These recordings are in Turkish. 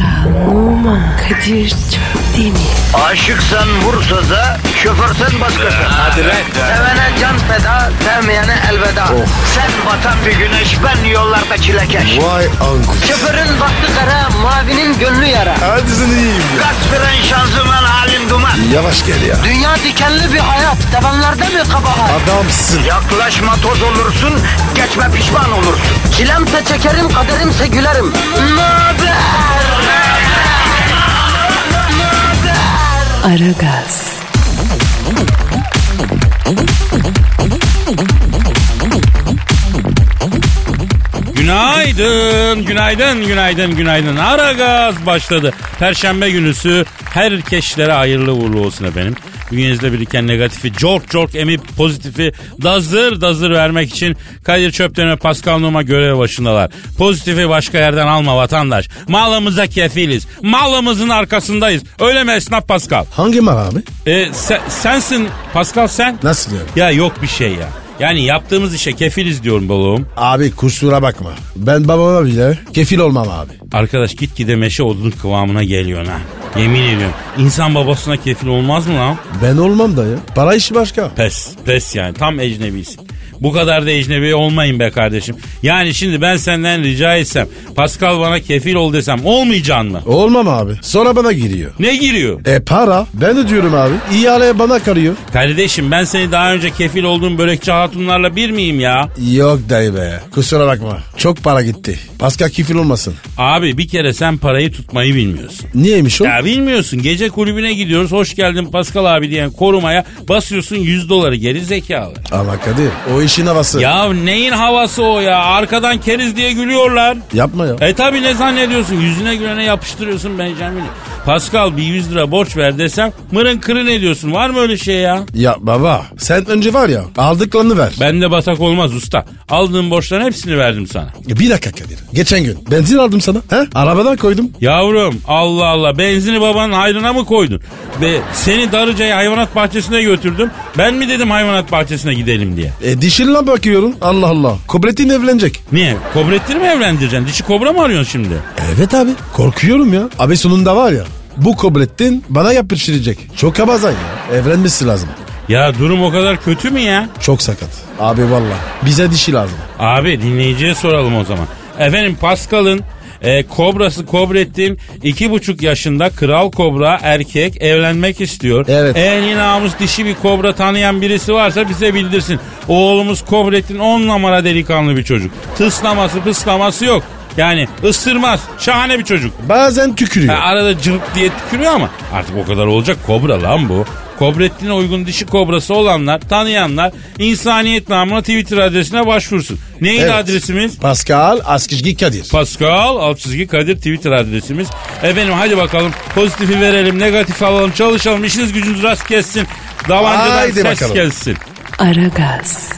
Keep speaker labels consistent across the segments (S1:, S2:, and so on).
S1: Numan, Kadir çok değil mi?
S2: Aşıksan vursa da şoförsen başkasın.
S3: Hadi lan. Oh.
S2: Sevene can feda, sevmeyene elveda. Sen batan bir güneş, ben yollarda çilekeş.
S3: Vay anku.
S2: Şoförün baktı kara, mavinin gönlü yara.
S3: Hadi sen iyiyim ya.
S2: Kasperen şanzıman halin duman.
S3: Yavaş gel ya.
S2: Dünya dikenli bir hayat, sevenlerde mi kabahar?
S3: Adamsın.
S2: Yaklaşma toz olursun, geçme pişman olursun. Çilemse çekerim, kaderimse gülerim. Möber!
S1: Aragaz,
S4: Günaydın, günaydın, günaydın, günaydın. Ara gaz başladı. Perşembe günüsü herkeşlere hayırlı uğurlu olsun efendim. Bünyenizde biriken negatifi cork cork emip pozitifi dazır dazır vermek için Kadir Çöpten ve Pascal Numa görev başındalar. Pozitifi başka yerden alma vatandaş. Malımıza kefiliz. Malımızın arkasındayız. Öyle mi esnaf Pascal?
S3: Hangi mal abi?
S4: E, sen- sensin Pascal sen?
S3: Nasıl yani?
S4: Ya yok bir şey ya. Yani yaptığımız işe kefiliz diyorum balığım.
S3: Abi kusura bakma. Ben babama bile kefil olmam abi.
S4: Arkadaş git gide meşe odun kıvamına geliyorsun ha. Yemin ediyorum. İnsan babasına kefil olmaz mı lan?
S3: Ben olmam da ya. Para işi başka.
S4: Pes. Pes yani. Tam ecnebisin. Bu kadar da ecnebi olmayın be kardeşim. Yani şimdi ben senden rica etsem. Pascal bana kefil ol desem olmayacaksın mı?
S3: Olmam abi. Sonra bana giriyor.
S4: Ne giriyor?
S3: E para? Ben ödüyorum abi. İhale bana karıyor.
S4: Kardeşim ben seni daha önce kefil olduğum börekçi hatunlarla bir miyim ya?
S3: Yok dayı be. Kusura bakma. Çok para gitti. Pascal kefil olmasın.
S4: Abi bir kere sen parayı tutmayı bilmiyorsun.
S3: Niyeymiş o?
S4: Ya bilmiyorsun gece kulübüne gidiyoruz hoş geldin Pascal abi diyen korumaya basıyorsun 100 doları geri zekalı.
S3: Ama Kadir o işin havası.
S4: Ya neyin havası o ya? Arkadan keriz diye gülüyorlar.
S3: Yapma ya.
S4: E tabi ne zannediyorsun? Yüzüne gülene yapıştırıyorsun Benjamin'i. Pascal bir 100 lira borç ver desem mırın kırın ediyorsun. Var mı öyle şey ya?
S3: Ya baba sen önce var ya aldıklarını ver.
S4: Ben de batak olmaz usta. Aldığım borçların hepsini verdim sana.
S3: E, Bir dakika Kadir. Geçen gün benzin aldım sana. He? Arabadan koydum.
S4: Yavrum Allah Allah benzini babanın hayrına mı koydun? Ve seni Darıca'ya hayvanat bahçesine götürdüm. Ben mi dedim hayvanat bahçesine gidelim diye?
S3: E dişinle bakıyorum. Allah Allah. Kobretin evlenecek.
S4: Niye? Kobrettir mi evlendireceksin? Dişi kobra mı arıyorsun şimdi?
S3: Evet abi. Korkuyorum ya. Abi sonunda var ya. Bu Kobrettin bana yapıştıracak. Çok kabazan ya. Evlenmesi lazım.
S4: Ya durum o kadar kötü mü ya?
S3: Çok sakat. Abi valla. Bize dişi lazım.
S4: Abi dinleyiciye soralım o zaman. Efendim Pascal'ın e, kobrası Kobrettin iki buçuk yaşında kral kobra erkek evlenmek istiyor.
S3: Evet.
S4: Eğer yine namus dişi bir kobra tanıyan birisi varsa bize bildirsin. Oğlumuz Kobrettin on numara delikanlı bir çocuk. Tıslaması pıslaması yok. Yani ısırmaz. Şahane bir çocuk.
S3: Bazen tükürüyor.
S4: Ha, arada cıvık diye tükürüyor ama artık o kadar olacak kobra lan bu. Kobrettin'e uygun dişi kobrası olanlar, tanıyanlar insaniyet namına Twitter adresine başvursun. Neydi
S3: Evet.
S4: adresimiz?
S3: Pascal Askizgi Kadir.
S4: Pascal Altçizgi Kadir Twitter adresimiz. Efendim hadi bakalım pozitifi verelim, negatif alalım, çalışalım. işiniz gücünüz rast gelsin. Davancadan
S3: Haydi
S4: ses
S3: bakalım.
S4: gelsin.
S1: Aragaz,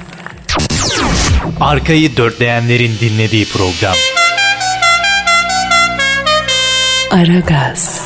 S5: Arkayı dörtleyenlerin dinlediği program.
S1: Aragaz,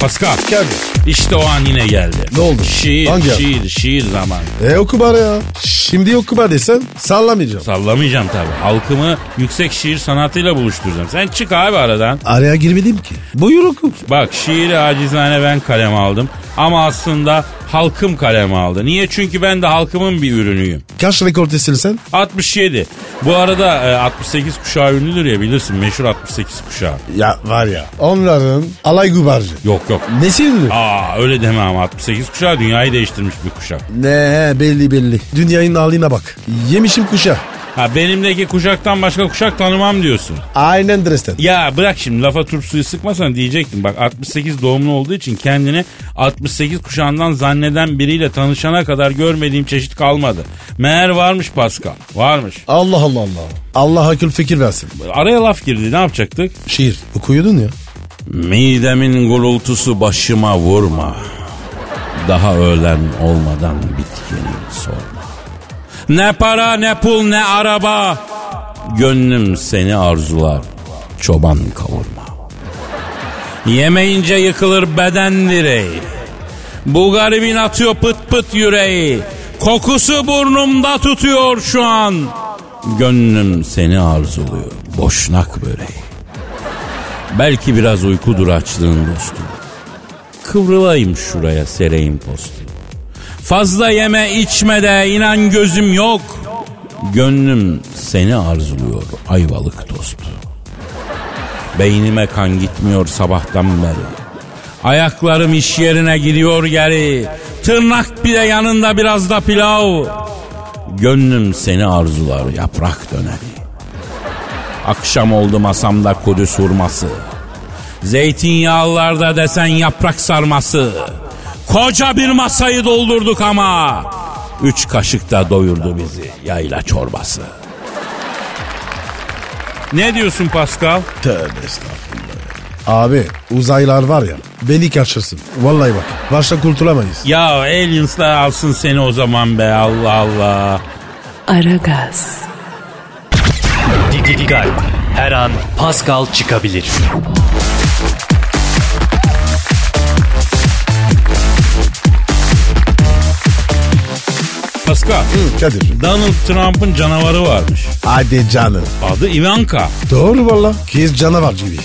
S4: Pascal
S3: Kadir.
S4: işte o an yine geldi.
S3: Ne oldu?
S4: Şiir,
S3: Hangi an?
S4: şiir, şiir zamanı.
S3: E oku bari ya. Şimdi oku bari desen sallamayacağım.
S4: Sallamayacağım tabii. Halkımı yüksek şiir sanatıyla buluşturacağım. Sen çık abi aradan.
S3: Araya girmedim ki. Buyur oku.
S4: Bak şiiri acizane ben kalem aldım. Ama aslında halkım kalem aldı. Niye? Çünkü ben de halkımın bir ürünüyüm.
S3: Kaç rekor sen?
S4: 67. Bu arada e, 68 kuşağı ünlüdür ya bilirsin meşhur 68 kuşağı.
S3: Ya var ya. Onların alay gubarcı.
S4: Yok yok.
S3: Nesil mi?
S4: Aa öyle deme ama 68 kuşağı dünyayı değiştirmiş bir kuşak.
S3: Ne belli belli. Dünyanın haline bak. Yemişim kuşa.
S4: Ha benimdeki kuşaktan başka kuşak tanımam diyorsun.
S3: Aynen dresten.
S4: Ya bırak şimdi lafa turp suyu sıkmasan diyecektim. Bak 68 doğumlu olduğu için kendini 68 kuşağından zanneden biriyle tanışana kadar görmediğim çeşit kalmadı. Meğer varmış Pascal. Varmış.
S3: Allah Allah Allah. Allah akıl fikir versin.
S4: Araya laf girdi ne yapacaktık?
S3: Şiir okuyordun ya.
S4: Midemin gurultusu başıma vurma. Daha öğlen olmadan bitkinim sorma. Ne para ne pul ne araba. Gönlüm seni arzular. Çoban kavurma. Yemeyince yıkılır beden direği. Bu garibin atıyor pıt pıt yüreği. Kokusu burnumda tutuyor şu an. Gönlüm seni arzuluyor. Boşnak böreği. Belki biraz uykudur açlığın dostum. Kıvrılayım şuraya sereyim postu. Fazla yeme içme de inan gözüm yok. Gönlüm seni arzuluyor ayvalık dostu. Beynime kan gitmiyor sabahtan beri. Ayaklarım iş yerine gidiyor geri. Tırnak bile yanında biraz da pilav. Gönlüm seni arzular yaprak döneri. Akşam oldu masamda kudüs hurması. Zeytinyağlılarda desen yaprak sarması. Koca bir masayı doldurduk ama. Üç kaşıkta doyurdu bizi yayla çorbası. Ne diyorsun Pascal?
S3: Tövbe estağfurullah. Abi uzaylar var ya beni kaçırsın. Vallahi bak başta kurtulamayız.
S4: Ya Aliens'lar alsın seni o zaman be Allah Allah.
S1: Aragaz,
S5: Didi Digal. Her an Pascal çıkabilir.
S4: Pascal,
S3: Kadir.
S4: Donald Trump'ın canavarı varmış.
S3: Hadi canım.
S4: Adı Ivanka.
S3: Doğru valla. Kız canavar gibi.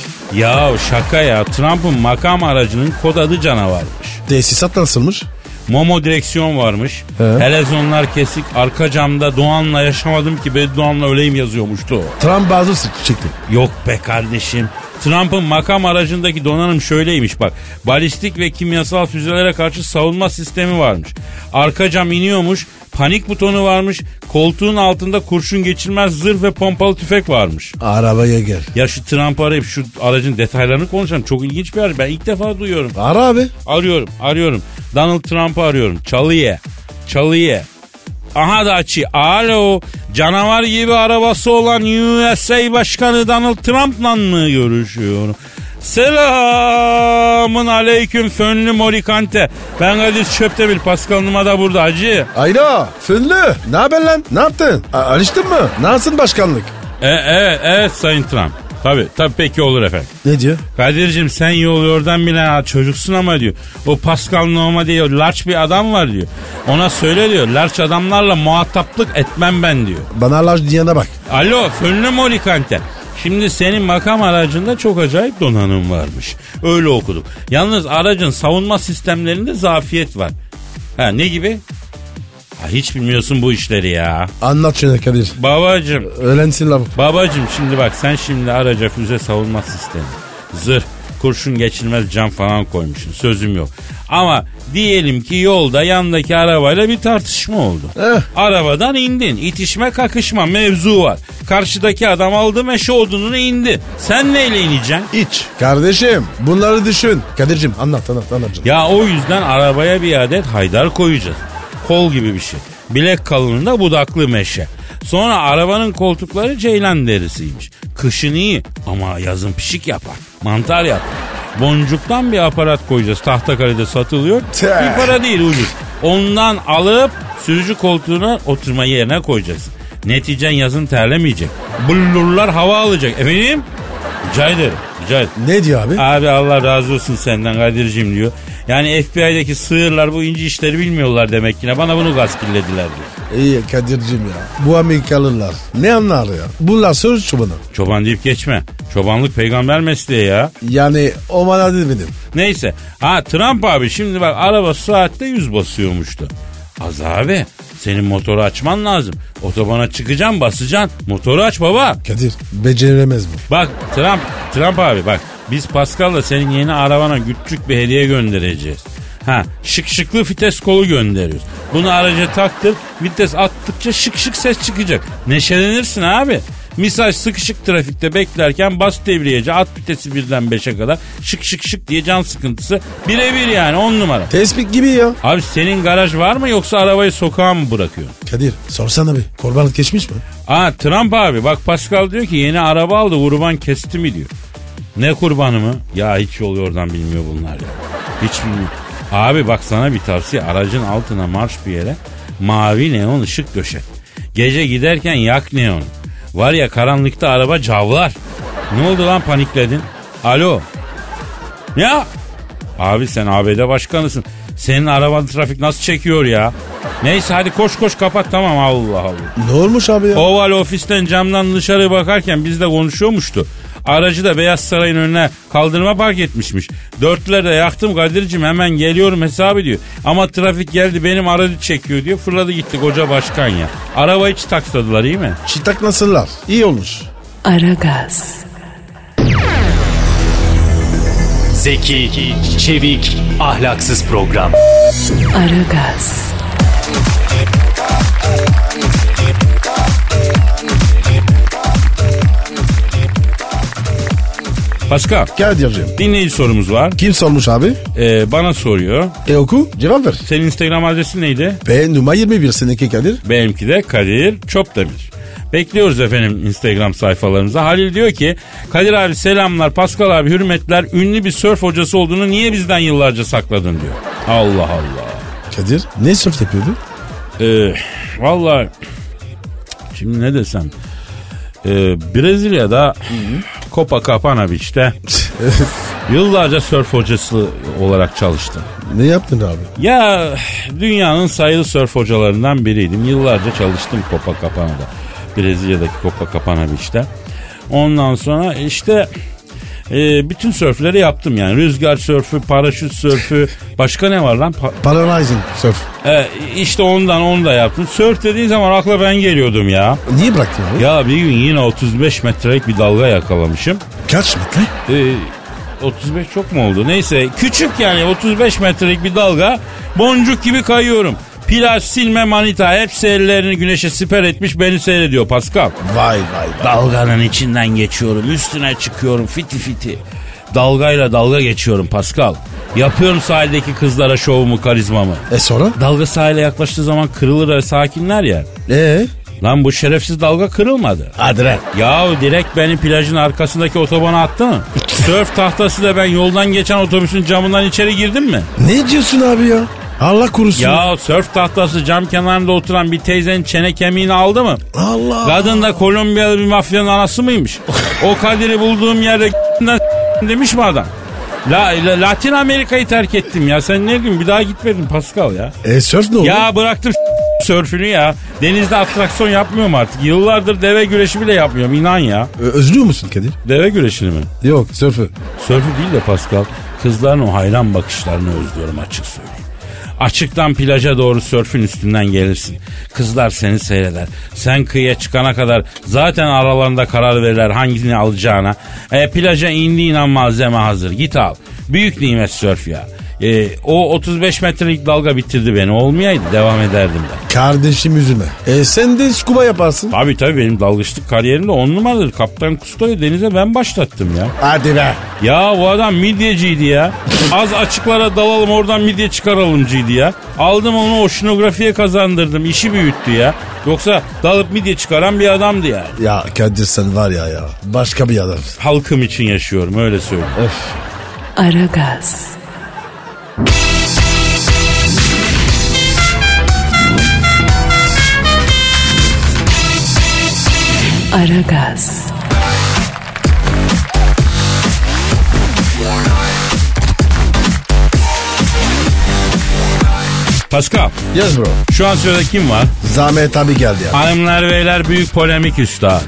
S4: Ya şaka ya Trump'ın makam aracının kod adı canavarmış.
S3: Tesisat nasılmış?
S4: Momo direksiyon varmış.
S3: He.
S4: Helezonlar kesik. Arka camda Doğan'la yaşamadım ki Bedduan'la öleyim yazıyormuştu o.
S3: Trump bazı sık- çıktı.
S4: Yok be kardeşim. Trump'ın makam aracındaki donanım şöyleymiş bak. Balistik ve kimyasal füzelere karşı savunma sistemi varmış. Arka cam iniyormuş. Panik butonu varmış. Koltuğun altında kurşun geçirmez zırh ve pompalı tüfek varmış.
S3: Arabaya gel.
S4: Ya şu Trump'ı arayıp şu aracın detaylarını konuşalım. Çok ilginç bir araç. Ben ilk defa duyuyorum.
S3: Ara abi.
S4: Arıyorum, arıyorum. Donald Trump'ı arıyorum. Çalıye, çalıye. Aha da açı. Alo. Canavar gibi arabası olan USA Başkanı Donald Trump'la mı görüşüyorum? Selamın aleyküm fönlü morikante. Ben Kadir Çöptemir. Pascal Numa da burada hacı.
S3: Ayla. Fünlü. Ne haber lan? Ne yaptın? A- alıştın mı? Nasılsın başkanlık?
S4: E, evet, evet Sayın Trump. Tabii, tabii peki olur efendim.
S3: Ne diyor?
S4: Kadir'cim sen yol yordan bile ha, çocuksun ama diyor. O Pascal Noma diyor. Larç bir adam var diyor. Ona söyle diyor. Larç adamlarla muhataplık etmem ben diyor.
S3: Bana laj diyene bak.
S4: Alo Fönlü Molikante. Şimdi senin makam aracında çok acayip donanım varmış. Öyle okuduk. Yalnız aracın savunma sistemlerinde zafiyet var. Ha ne gibi? Ha, hiç bilmiyorsun bu işleri ya.
S3: Anlat şunu Kadir.
S4: Babacım
S3: Öğrensin lavuk.
S4: Babacım şimdi bak sen şimdi araca füze savunma sistemi. Zırh, kurşun geçirmez cam falan koymuşsun sözüm yok. Ama diyelim ki yolda yandaki arabayla bir tartışma oldu.
S3: Eh.
S4: Arabadan indin. itişme kakışma mevzu var. Karşıdaki adam aldı meşe odununu indi. Sen neyle ineceksin?
S3: İç. Kardeşim bunları düşün. Kadir'cim anlat anlat anlat. canım.
S4: Ya o yüzden arabaya bir adet haydar koyacağız. Kol gibi bir şey. Bilek kalınlığında budaklı meşe. Sonra arabanın koltukları ceylan derisiymiş. Kışın iyi ama yazın pişik yapar. Mantar yapar. Boncuktan bir aparat koyacağız. Tahta kalede satılıyor.
S3: Tüh.
S4: Bir para değil ucuz. Ondan alıp sürücü koltuğuna oturma yerine koyacaksın. Neticen yazın terlemeyecek. Blurlar hava alacak. Efendim? Rica ederim. Rica ederim.
S3: Ne diyor abi?
S4: Abi Allah razı olsun senden Kadir'cim diyor. Yani FBI'deki sığırlar bu ince işleri bilmiyorlar demek ki. Bana bunu gaskillediler diyor.
S3: İyi Kadir'cim ya. Bu Amerikalılar ne anlar ya? Bunlar söz çubuğunu.
S4: Çoban deyip geçme. Çobanlık peygamber mesleği ya.
S3: Yani o bana demedim.
S4: Neyse. Ha Trump abi şimdi bak araba saatte 100 basıyormuştu. Az abi senin motoru açman lazım. Otobana çıkacaksın basacaksın. Motoru aç baba.
S3: Kadir beceremez bu.
S4: Bak Trump, Trump abi bak biz Pascal'la senin yeni arabana küçük bir hediye göndereceğiz. Ha şık şıklı vites kolu gönderiyoruz. Bunu araca taktır vites attıkça şık şık ses çıkacak. Neşelenirsin abi. Misal sıkışık trafikte beklerken bas devriyeci at vitesi birden beşe kadar şık şık şık diye can sıkıntısı birebir yani on numara.
S3: Tespit gibi ya.
S4: Abi senin garaj var mı yoksa arabayı sokağa mı bırakıyorsun?
S3: Kadir sorsana bir. Korbanlık geçmiş mi?
S4: Aa Trump abi bak Pascal diyor ki yeni araba aldı kurban kesti mi diyor. Ne kurbanı mı? Ya hiç yol oradan bilmiyor bunlar ya. Hiç bilmiyor. Abi bak sana bir tavsiye aracın altına marş bir yere mavi neon ışık döşe. Gece giderken yak neon. Var ya karanlıkta araba cavlar. Ne oldu lan panikledin? Alo. Ya. Abi sen ABD başkanısın. Senin araban trafik nasıl çekiyor ya? Neyse hadi koş koş kapat tamam Allah Allah.
S3: Ne olmuş abi ya?
S4: Oval ofisten camdan dışarı bakarken biz de konuşuyormuştu. Aracı da Beyaz Saray'ın önüne kaldırıma park etmişmiş. Dörtlüler de yaktım Kadir'cim hemen geliyorum hesabı diyor. Ama trafik geldi benim aracı çekiyor diyor. Fırladı gitti koca başkan ya. Araba hiç taksadılar iyi mi?
S3: Çıtak nasıllar? İyi olmuş.
S1: Aragaz,
S5: Zeki, çevik, ahlaksız program.
S1: Aragaz,
S4: Pascal
S3: Gel diyeceğim.
S4: dinleyici sorumuz var.
S3: Kim sormuş abi?
S4: Ee, bana soruyor.
S3: E oku cevap ver.
S4: Senin Instagram adresin neydi?
S3: Ve numara 21 seninki Kadir.
S4: Benimki de Kadir Çopdemir. Bekliyoruz efendim Instagram sayfalarımıza. Halil diyor ki Kadir abi selamlar Pascal abi hürmetler ünlü bir sörf hocası olduğunu niye bizden yıllarca sakladın diyor. Allah Allah.
S3: Kadir ne sırf yapıyordu?
S4: Ee, Valla şimdi ne desem Ee, Brezilya'da Copacabana Beach'te yıllarca sörf hocası olarak çalıştım.
S3: Ne yaptın abi?
S4: Ya dünyanın sayılı sörf hocalarından biriydim. Yıllarca çalıştım Copacabana'da. Brezilya'daki Copacabana Beach'te. Ondan sonra işte e, bütün sörfleri yaptım yani. Rüzgar sörfü, paraşüt sörfü, başka ne var lan? Pa-
S3: Paralyzing surf.
S4: e, işte ondan onu da yaptım. Sörf dediği zaman akla ben geliyordum ya.
S3: Niye bıraktın abi?
S4: Ya bir gün yine 35 metrelik bir dalga yakalamışım.
S3: Kaç metre?
S4: Ee, 35 çok mu oldu? Neyse küçük yani 35 metrelik bir dalga boncuk gibi kayıyorum. Plaj, silme, manita hepsi ellerini güneşe siper etmiş beni seyrediyor Pascal.
S3: Vay vay vay.
S4: Dalganın içinden geçiyorum üstüne çıkıyorum fiti fiti. Dalgayla dalga geçiyorum Pascal. Yapıyorum sahildeki kızlara şovumu karizmamı.
S3: E sonra?
S4: Dalga sahile yaklaştığı zaman kırılır ve sakinler ya.
S3: Eee?
S4: Lan bu şerefsiz dalga kırılmadı.
S3: Hadi lan.
S4: Yahu direkt beni plajın arkasındaki otobana attı mı? Sörf tahtasıyla ben yoldan geçen otobüsün camından içeri girdim mi?
S3: Ne diyorsun abi ya? Allah korusun.
S4: Ya sörf tahtası cam kenarında oturan bir teyzenin çene kemiğini aldı mı?
S3: Allah.
S4: Kadın da Kolombiyalı bir mafyanın anası mıymış? O Kadir'i bulduğum yerde demiş mi adam? La, la- Latin Amerika'yı terk ettim ya. Sen ne gün bir daha gitmedin Pascal ya.
S3: E surf ne oldu?
S4: Ya bıraktım sörfünü ya. Denizde atraksiyon yapmıyorum artık. Yıllardır deve güreşi bile yapmıyorum inan ya.
S3: Ö- Özlüyor musun Kadir?
S4: Deve güreşini mi?
S3: Yok sörfü.
S4: Sörfü değil de Pascal. Kızların o hayran bakışlarını özlüyorum açık söyleyeyim. Açıktan plaja doğru sörfün üstünden gelirsin. Kızlar seni seyreder. Sen kıyıya çıkana kadar zaten aralarında karar verirler hangisini alacağına. E, plaja indiğin an malzeme hazır. Git al. Büyük nimet sörf ya. E, o 35 metrelik dalga bitirdi beni. Olmayaydı devam ederdim ben.
S3: Kardeşim üzülme. E sen de scuba yaparsın.
S4: Tabii tabii benim dalgıçlık kariyerimde on numaradır. Kaptan Kusto'yu denize ben başlattım ya.
S3: Hadi be.
S4: Ya bu adam midyeciydi ya. Az açıklara dalalım oradan midye çıkaralımcıydı ya. Aldım onu oşinografiye kazandırdım. işi büyüttü ya. Yoksa dalıp midye çıkaran bir adamdı yani.
S3: Ya Kadir sen var ya ya. Başka bir adam.
S4: Halkım için yaşıyorum öyle söyleyeyim.
S1: Aragaz, Aragaz,
S4: Pascal
S3: Yes bro.
S4: şu an sırada kim var?
S3: Zahmet abi geldi ya.
S4: Hanımlar beyler büyük polemik üstadı.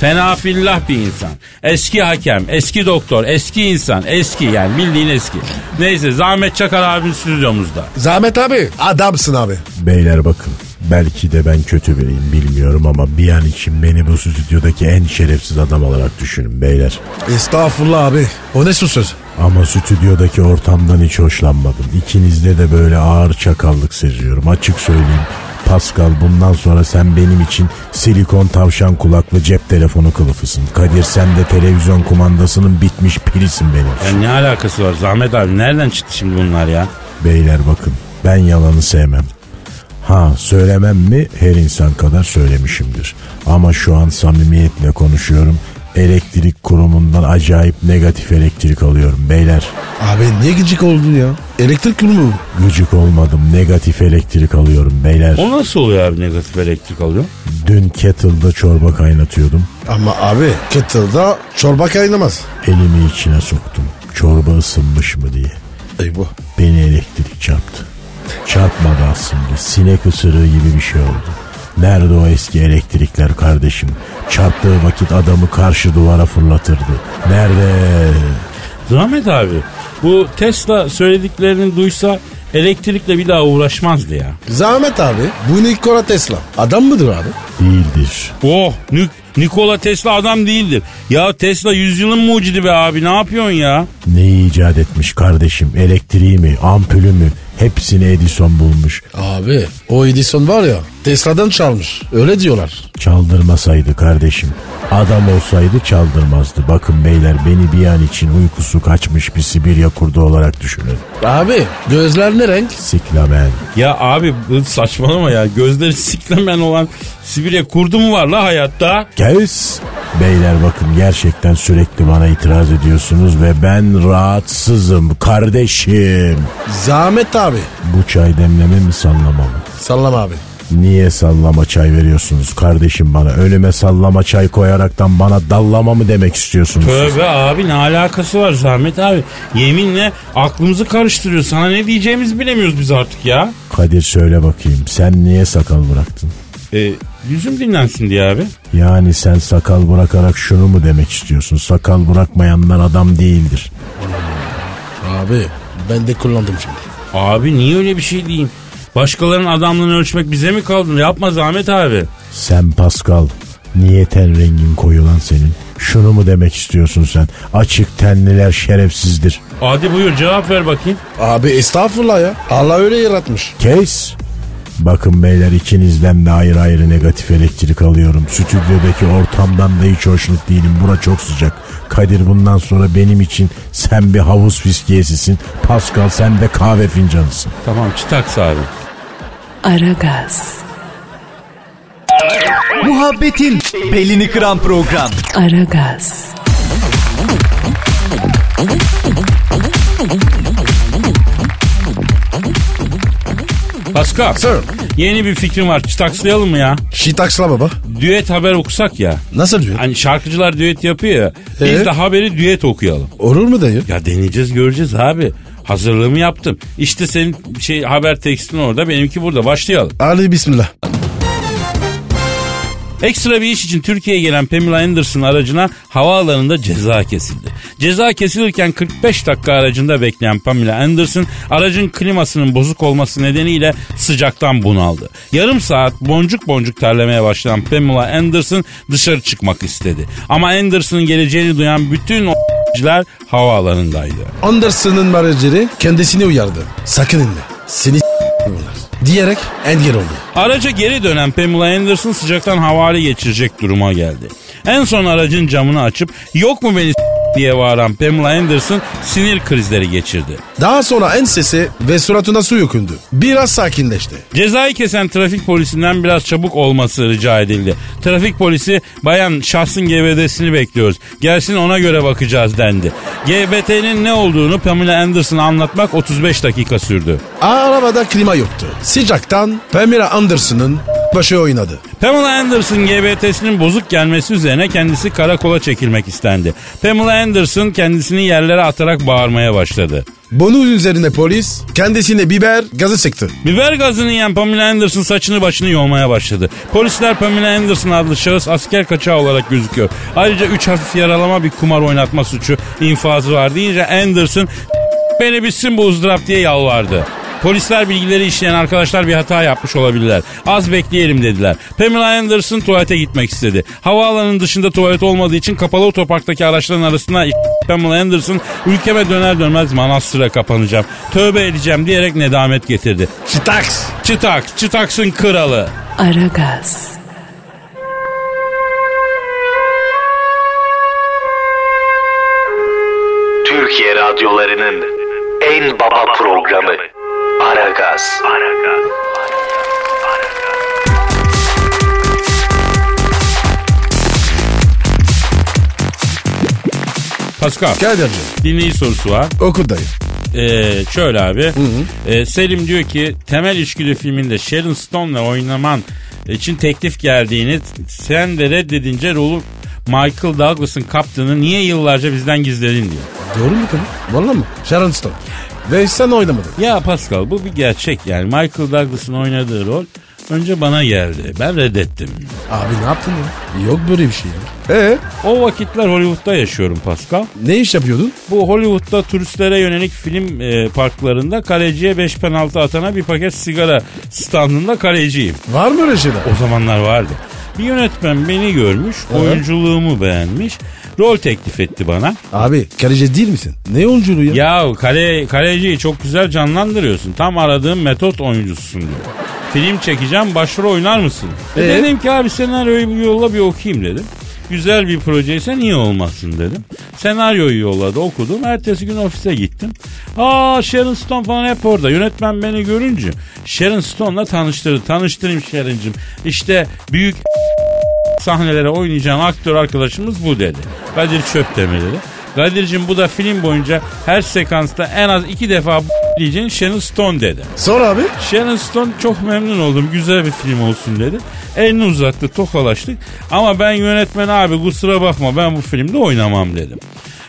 S4: Fena fillah bir insan. Eski hakem, eski doktor, eski insan, eski yani bildiğin eski. Neyse Zahmet Çakar abimiz stüdyomuzda.
S3: Zahmet abi. Adamsın abi.
S6: Beyler bakın belki de ben kötü biriyim bilmiyorum ama bir an için beni bu stüdyodaki en şerefsiz adam olarak düşünün beyler.
S3: Estağfurullah abi. O ne su söz?
S6: Ama stüdyodaki ortamdan hiç hoşlanmadım. İkinizde de böyle ağır çakallık seziyorum açık söyleyeyim. Pascal bundan sonra sen benim için silikon tavşan kulaklı cep telefonu kılıfısın. Kadir sen de televizyon kumandasının bitmiş pilisin benim.
S4: Ya ne alakası var Zahmet abi nereden çıktı şimdi bunlar ya?
S6: Beyler bakın ben yalanı sevmem. Ha söylemem mi her insan kadar söylemişimdir. Ama şu an samimiyetle konuşuyorum. Elektrik kurumundan acayip negatif elektrik alıyorum beyler.
S3: Abi niye gıcık oldun ya? Elektrik kurumu mu?
S6: Gıcık olmadım negatif elektrik alıyorum beyler.
S4: O nasıl oluyor abi negatif elektrik alıyor?
S6: Dün kettle'da çorba kettle'da
S3: Ama abi kettle'da çorba kaynamaz.
S6: Elimi içine soktum. Çorba ısınmış mı diye.
S3: Ey bu.
S6: Beni elektrik çarptı.
S3: çarptı.
S6: Çarpmadı aslında. Sinek ısırığı gibi bir şey oldu. Nerede o eski elektrikler kardeşim? Çarptığı vakit adamı karşı duvara fırlatırdı. Nerede?
S4: Zahmet abi bu Tesla söylediklerini duysa elektrikle bir daha uğraşmazdı ya.
S3: Zahmet abi. Bu Nikola Tesla. Adam mıdır abi?
S6: Değildir.
S4: Oh Nik- Nikola Tesla adam değildir. Ya Tesla yüzyılın mucidi be abi ne yapıyorsun ya?
S6: Neyi icat etmiş kardeşim? Elektriği mi? Ampulü mü? Hepsini Edison bulmuş.
S3: Abi o Edison var ya Tesla'dan çalmış. Öyle diyorlar.
S6: Çaldırmasaydı kardeşim. Adam olsaydı çaldırmazdı. Bakın beyler beni bir an için uykusu kaçmış bir Sibirya kurdu olarak düşünün.
S3: Abi gözler ne renk?
S6: Siklamen.
S4: Ya abi bu saçmalama ya gözleri siklemen olan Sibirya kurdu mu var la hayatta?
S6: Kes. Beyler bakın gerçekten sürekli bana itiraz ediyorsunuz ve ben rahatsızım kardeşim.
S3: Zahmet abi.
S6: Bu çay demleme mi sallama mı?
S3: Sallam abi.
S6: Niye sallama çay veriyorsunuz kardeşim bana? Önüme sallama çay koyaraktan bana dallama mı demek istiyorsunuz? siz?
S4: Tövbe abi ne alakası var Zahmet abi? Yeminle aklımızı karıştırıyor. Sana ne diyeceğimizi bilemiyoruz biz artık ya.
S6: Kadir söyle bakayım sen niye sakal bıraktın?
S4: E, yüzüm dinlensin diye abi.
S6: Yani sen sakal bırakarak şunu mu demek istiyorsun? Sakal bırakmayanlar adam değildir.
S3: Abi ben de kullandım şimdi.
S4: Abi niye öyle bir şey diyeyim? Başkalarının adamlığını ölçmek bize mi kaldı? Yapma Zahmet abi.
S6: Sen Pascal niye ten rengin koyu lan senin? Şunu mu demek istiyorsun sen? Açık tenliler şerefsizdir.
S4: Hadi buyur cevap ver bakayım.
S3: Abi estağfurullah ya. Allah öyle yaratmış.
S6: Kes. Bakın beyler ikinizden de ayrı ayrı negatif elektrik alıyorum. Stüdyodaki ortamdan da hiç hoşnut değilim. Bura çok sıcak. Kadir bundan sonra benim için sen bir havuz fiskiyesisin. Pascal sen de kahve fincanısın.
S4: Tamam çıtaks abi.
S1: Aragaz,
S5: Muhabbetin belini kıran program.
S1: Aragaz,
S4: Pascal.
S3: Sir.
S4: Yeni bir fikrim var. Çıtakslayalım mı ya?
S3: Şitaksla baba.
S4: Düet haber okusak ya.
S3: Nasıl diyor?
S4: Hani şarkıcılar düet yapıyor ya. Biz
S3: Evet.
S4: de haberi düet okuyalım.
S3: Olur mu dayı?
S4: Ya deneyeceğiz göreceğiz abi. Hazırlığımı yaptım. İşte senin şey haber tekstin orada benimki burada. Başlayalım.
S3: Ali bismillah.
S4: Ekstra bir iş için Türkiye'ye gelen Pamela Anderson aracına havaalanında ceza kesildi. Ceza kesilirken 45 dakika aracında bekleyen Pamela Anderson aracın klimasının bozuk olması nedeniyle sıcaktan bunaldı. Yarım saat boncuk boncuk terlemeye başlayan Pamela Anderson dışarı çıkmak istedi. Ama Anderson'ın geleceğini duyan bütün o havaalanındaydı.
S3: Anderson'ın marajeri kendisini uyardı. Sakın inme. Seni s- bunlar. Diyerek engel oldu.
S4: Araca geri dönen Pamela Anderson sıcaktan havale geçirecek duruma geldi. En son aracın camını açıp yok mu beni s- diye bağıran Pamela Anderson sinir krizleri geçirdi.
S3: Daha sonra ensesi ve suratına su yökündü. Biraz sakinleşti.
S4: Cezayı kesen trafik polisinden biraz çabuk olması rica edildi. Trafik polisi bayan şahsın GBT'sini bekliyoruz. Gelsin ona göre bakacağız dendi. GBT'nin ne olduğunu Pamela Anderson'a anlatmak 35 dakika sürdü.
S3: Arabada klima yoktu. Sıcaktan Pamela Anderson'ın başı oynadı.
S4: Pamela Anderson GBT'sinin bozuk gelmesi üzerine kendisi karakola çekilmek istendi. Pamela Anderson kendisini yerlere atarak bağırmaya başladı.
S3: Bunun üzerine polis kendisine biber gazı sıktı.
S4: Biber gazını yiyen Pamela Anderson saçını başını yolmaya başladı. Polisler Pamela Anderson adlı şahıs asker kaçağı olarak gözüküyor. Ayrıca 3 hafif yaralama bir kumar oynatma suçu infazı var deyince Anderson beni bitsin bu ızdırap diye yalvardı. Polisler bilgileri işleyen arkadaşlar bir hata yapmış olabilirler. Az bekleyelim dediler. Pamela Anderson tuvalete gitmek istedi. Havaalanının dışında tuvalet olmadığı için kapalı otoparktaki araçların arasına Pamela Anderson ülkeme döner dönmez manastıra kapanacağım. Tövbe edeceğim diyerek nedamet getirdi.
S3: Çıtaks.
S4: Çıtak, çıtaksın kralı.
S1: Aragaz,
S7: Türkiye radyolarının en baba programı Aragaz.
S4: Pascal,
S3: Kadirci
S4: dinleyici sorusu var.
S3: oku dayı.
S4: Ee, şöyle abi. Ee, Selim diyor ki Temel İçgüdü filminde Sharon Stone'la oynaman için teklif geldiğini sen de reddedince rolü Michael Douglas'ın kaptanı niye yıllarca bizden gizledin diyor.
S3: Doğru mu kadın? Valla mı? Sharon Stone. Ve sen oynamadın.
S4: Ya Pascal bu bir gerçek yani. Michael Douglas'ın oynadığı rol önce bana geldi. Ben reddettim.
S3: Abi ne yaptın ya? Yok böyle bir şey ya. Ee,
S4: O vakitler Hollywood'da yaşıyorum Pascal.
S3: ne iş yapıyordun?
S4: Bu Hollywood'da turistlere yönelik film e, parklarında kaleciye 5 penaltı atana bir paket sigara standında kaleciyim.
S3: Var mı öyle şeyler?
S4: O zamanlar vardı. Bir yönetmen beni görmüş, oyunculuğumu beğenmiş, rol teklif etti bana.
S3: Abi kaleci değil misin? Ne oyunculuğu ya?
S4: Ya kale, kaleciyi çok güzel canlandırıyorsun. Tam aradığım metot oyuncususun diyor. Film çekeceğim başrol oynar mısın? E
S3: Ee?
S4: dedim ki abi senaryoyu bir yolla bir okuyayım dedim. Güzel bir projeyse niye olmasın dedim. Senaryoyu yolladı okudum. Ertesi gün ofise gittim. Aa Sharon Stone falan hep orada. Yönetmen beni görünce Sharon Stone'la tanıştırdı. Tanıştırayım Sharon'cığım. İşte büyük sahnelere oynayacağın aktör arkadaşımız bu dedi. Kadir Çöpdemir dedi. Kadir'cim bu da film boyunca her sekansta en az iki defa b- diyeceğin Sharon Stone dedi.
S3: Sor abi.
S4: Sharon Stone çok memnun oldum güzel bir film olsun dedi. Elini uzattı tokalaştık ama ben yönetmen abi kusura bakma ben bu filmde oynamam dedim.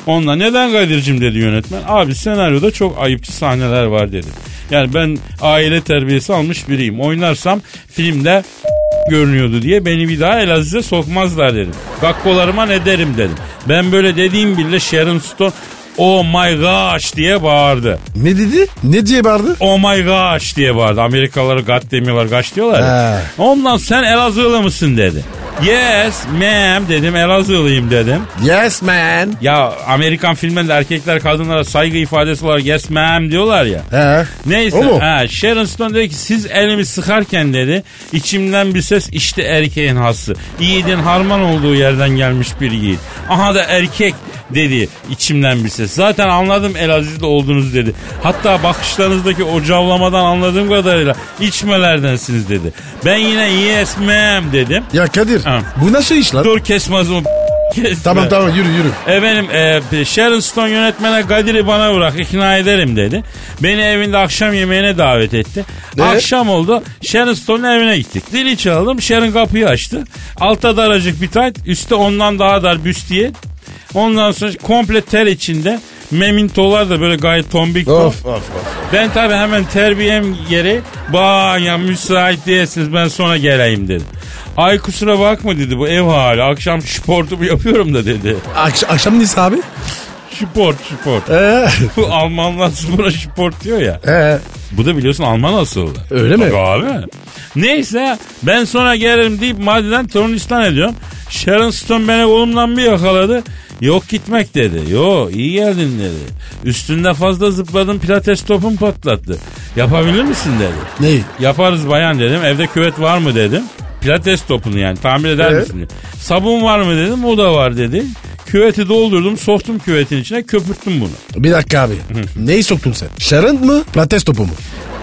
S4: Onunla neden Kadir'cim dedi yönetmen. Abi senaryoda çok ayıpçı sahneler var dedi. Yani ben aile terbiyesi almış biriyim. Oynarsam filmde görünüyordu diye beni bir daha Elazığ'a sokmazlar dedim. Kakkolarıma ne derim dedim. Ben böyle dediğim bile Sharon Stone oh my gosh diye bağırdı.
S3: Ne dedi? Ne diye bağırdı?
S4: Oh my gosh diye bağırdı. Amerikalıları God demiyorlar gosh diyorlar. ya. Ondan sen Elazığlı mısın dedi. Yes ma'am dedim Elazığlıyım dedim.
S3: Yes man.
S4: Ya Amerikan filmlerinde erkekler kadınlara saygı ifadesi olarak yes ma'am diyorlar ya.
S3: He.
S4: Neyse
S3: O mu?
S4: ha, Sharon Stone dedi ki siz elimi sıkarken dedi içimden bir ses işte erkeğin hası. Yiğidin harman olduğu yerden gelmiş bir yiğit. Aha da erkek dedi içimden bir ses. Zaten anladım Elaziz'de olduğunuz dedi. Hatta bakışlarınızdaki o cavlamadan anladığım kadarıyla içmelerdensiniz dedi. Ben yine yes ma'am dedim.
S3: Ya Kadir
S4: Ha.
S3: bu nasıl iş lan?
S4: Dur kesmez o kesme.
S3: Tamam tamam yürü yürü.
S4: Efendim e, Sharon Stone yönetmene Kadir'i bana bırak ikna ederim dedi. Beni evinde akşam yemeğine davet etti.
S3: Ne?
S4: Akşam oldu Sharon Stone'un evine gittik. Dili çaldım Sharon kapıyı açtı. Altta daracık bir tayt üstte ondan daha dar büstiye. Ondan sonra komple ter içinde memintolar da böyle gayet tombik.
S3: Of of of.
S4: Ben tabii hemen terbiyem geri ya müsait değilsiniz ben sonra geleyim dedim. Ay kusura bakma dedi bu ev hali akşam sportumu yapıyorum da dedi.
S3: Akş- akşam neyse abi?
S4: Sport sport.
S3: Ee,
S4: Bu Almanlar spora sport diyor ya.
S3: ee,
S4: Bu da biliyorsun Alman asıllı.
S3: Öyle mi?
S4: Tabii abi. Neyse ben sonra gelirim deyip madiden tronistan ediyorum. Sharon Stone beni kolumdan bir yakaladı. Yok gitmek dedi. Yo iyi geldin dedi. Üstünde fazla zıpladın pilates topun patlattı. Yapabilir misin dedi.
S3: neyi?
S4: Yaparız bayan dedim. Evde küvet var mı dedim. Pilates topunu yani tamir eder
S3: Evet.
S4: misin? diye. Sabun var mı dedim. O da var dedi. Küveti doldurdum. Soktum küvetin içine köpürttüm bunu.
S3: Bir dakika abi. Neyi soktun sen? Şarın mı? Pilates topu mu?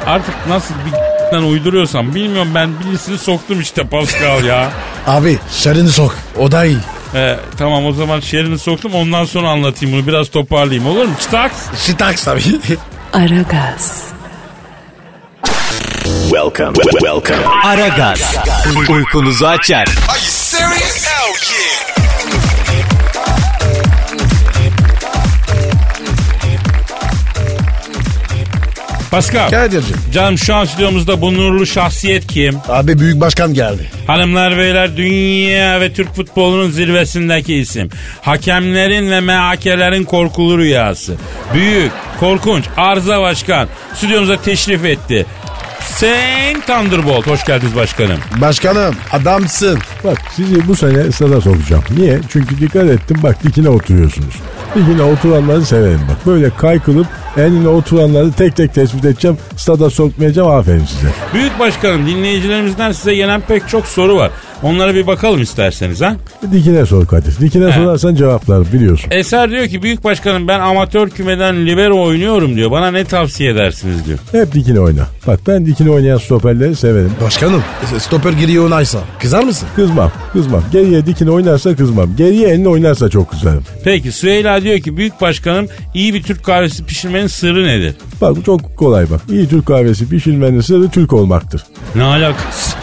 S4: Artık nasıl bir uyduruyorsam bilmiyorum ben birisini soktum işte Pascal ya.
S3: Abi şarını sok. O da iyi.
S4: Ee, tamam o zaman şerini soktum ondan sonra anlatayım bunu biraz toparlayayım olur mu? Çıtaks.
S3: Sitaks tabii.
S1: Aragaz,
S5: Welcome. Welcome. Aragaz. Uykunuzu açar.
S4: Pascal.
S3: Kadir'cim.
S4: Canım şu an stüdyomuzda bu nurlu şahsiyet kim?
S3: Abi büyük başkan geldi.
S4: Hanımlar beyler dünya ve Türk futbolunun zirvesindeki isim. Hakemlerin ve MHK'lerin korkulu rüyası. Büyük, korkunç, arıza başkan stüdyomuza teşrif etti. Sen Thunderbolt. Hoş geldiniz başkanım.
S3: Başkanım adamsın.
S6: Bak sizi bu sene stada sokacağım. Niye? Çünkü dikkat ettim bak dikine oturuyorsunuz. Dikine oturanları severim bak. Böyle kaykılıp enine oturanları tek tek tespit edeceğim. Stada sokmayacağım aferin size.
S4: Büyük başkanım dinleyicilerimizden size gelen pek çok soru var. Onlara bir bakalım isterseniz ha.
S6: Dikine sor Kadir. Dikine
S4: He.
S6: sorarsan cevaplarım biliyorsun.
S4: Eser diyor ki büyük başkanım ben amatör kümeden libero oynuyorum diyor. Bana ne tavsiye edersiniz diyor.
S6: Hep dikine oyna. Bak ben dikine oynayan stoperleri severim.
S3: Başkanım e, stoper giriyor onaysa. Kızar mısın?
S6: Kızmam, kızmam. Geriye dikine oynarsa kızmam. Geriye elini oynarsa çok kızarım.
S4: Peki Süheyla diyor ki büyük başkanım iyi bir Türk kahvesi pişirmenin sırrı nedir?
S6: Bak bu çok kolay bak. İyi Türk kahvesi pişirmenin sırrı Türk olmaktır.
S4: Ne alakası?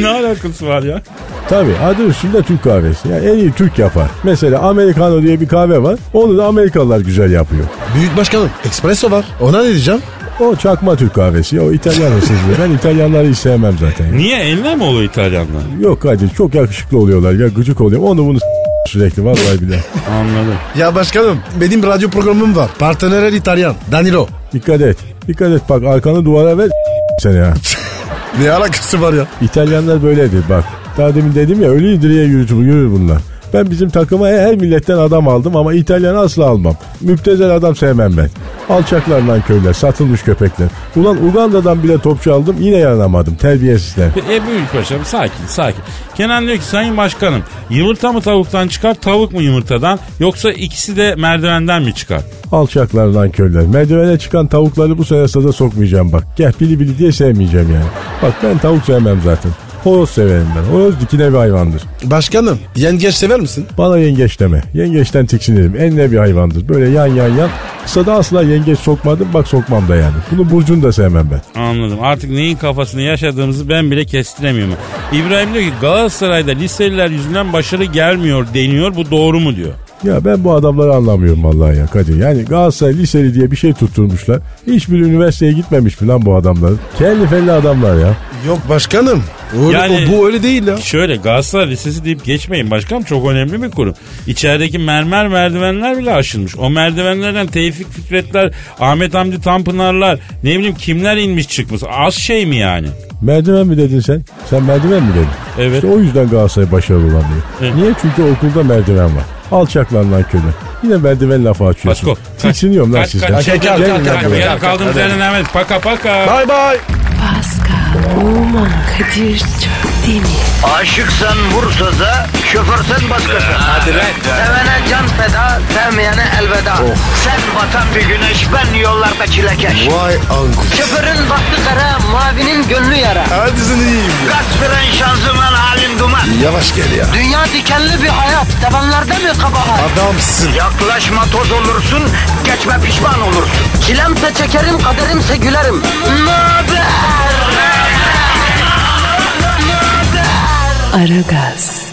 S4: ne alakası var ya?
S6: Tabii adı üstünde Türk kahvesi. Yani en iyi Türk yapar. Mesela Americano diye bir kahve var. Onu da Amerikalılar güzel yapıyor.
S3: Büyük başkanım espresso var. Ona ne diyeceğim?
S6: O çakma Türk kahvesi. O İtalyan hırsızlığı. Ben İtalyanları hiç sevmem zaten.
S4: Niye enler mi oluyor İtalyanlar?
S6: Yok Kadir çok yakışıklı oluyorlar ya gıcık oluyor. Onu bunu s- sürekli vallahi bile.
S4: Anladım.
S3: Ya başkanım benim radyo programım var. Partnerer İtalyan. Danilo.
S6: Dikkat et. Dikkat et bak arkanı duvara ver sen ya.
S3: Ne alakası var ya?
S6: İtalyanlar böyledir bak. Daha demin dedim ya ölü diriye yürütür, yürür bunlar. Ben bizim takıma her milletten adam aldım ama İtalyanı asla almam. Müptezel adam sevmem ben. Alçaklar lan köyler, satılmış köpekler. Ulan Uganda'dan bile topçu aldım yine yaranamadım terbiyesizler.
S4: E büyük başkanım sakin sakin. Kenan diyor ki sayın başkanım yumurta mı tavuktan çıkar tavuk mu yumurtadan yoksa ikisi de merdivenden mi çıkar?
S6: Alçaklar lan köyler. Merdivene çıkan tavukları bu sene saza sokmayacağım bak. Gel bili bili diye sevmeyeceğim yani. Bak ben tavuk sevmem zaten. Horoz severim ben. Horoz dikine bir hayvandır.
S3: Başkanım yengeç sever misin?
S6: Bana yengeç deme. Yengeçten tiksinirim. Enle bir hayvandır. Böyle yan yan yan. Kısa da asla yengeç sokmadım. Bak sokmam da yani. Bunu burcunu da sevmem ben.
S4: Anladım. Artık neyin kafasını yaşadığımızı ben bile kestiremiyorum. İbrahim diyor ki Galatasaray'da liseliler yüzünden başarı gelmiyor deniyor. Bu doğru mu diyor.
S6: Ya ben bu adamları anlamıyorum vallahi ya Kadir. Yani Galatasaray Liseli diye bir şey tutturmuşlar. Hiçbir üniversiteye gitmemiş mi lan bu adamlar? Kelli felli adamlar ya.
S3: Yok başkanım. Öyle-
S4: Yani-
S3: o- bu öyle değil ya.
S4: Şöyle Galatasaray Lisesi deyip geçmeyin başkanım çok önemli bir kurum. İçerideki mermer merdivenler bile aşılmış. O merdivenlerden Tevfik Fikretler, Ahmet Hamdi Tanpınarlar ne bileyim kimler inmiş çıkmış. Az şey mi yani?
S6: Merdiven mi dedin sen? Sen merdiven mi dedin?
S4: Evet.
S6: İşte o yüzden Galatasaray başarılı olamıyor.
S4: Evet.
S6: Niye? Çünkü okulda merdiven var. Alçaklar lan köle. Yine merdiven lafı açıyorsun.
S4: Pasko.
S6: Tiksiniyorum lan
S4: Kaç kaç
S6: sizden.
S4: kaç kaç
S3: Gel, gel, gel,
S4: kaç
S3: gel, gel,
S4: kaç
S3: gel.
S4: kaldığımız yerden hemen paka paka.
S3: Bay bay.
S1: Pascal, Oman, Kadir çok değil mi?
S2: Aşıksan vursa da, şoförsen başkasın. Hadi Sevene can feda, sevmeyene elveda. Sen batan bir güneş, ben yollarda çilekeş.
S3: Vay anku.
S2: Şoförün baktı kara, mavinin gönlü yara.
S3: Hadi sen iyiyim ya.
S2: Kasperen şanzıman halin duman.
S3: Yavaş gel ya.
S2: Dünya dikenli bir hayat, sevenlerde mi kabahar?
S3: Adamsın.
S2: Yaklaşma toz olursun, geçme pişman olursun. Çilemse çekerim, kaderimse gülerim. Möber!
S1: Aragaz.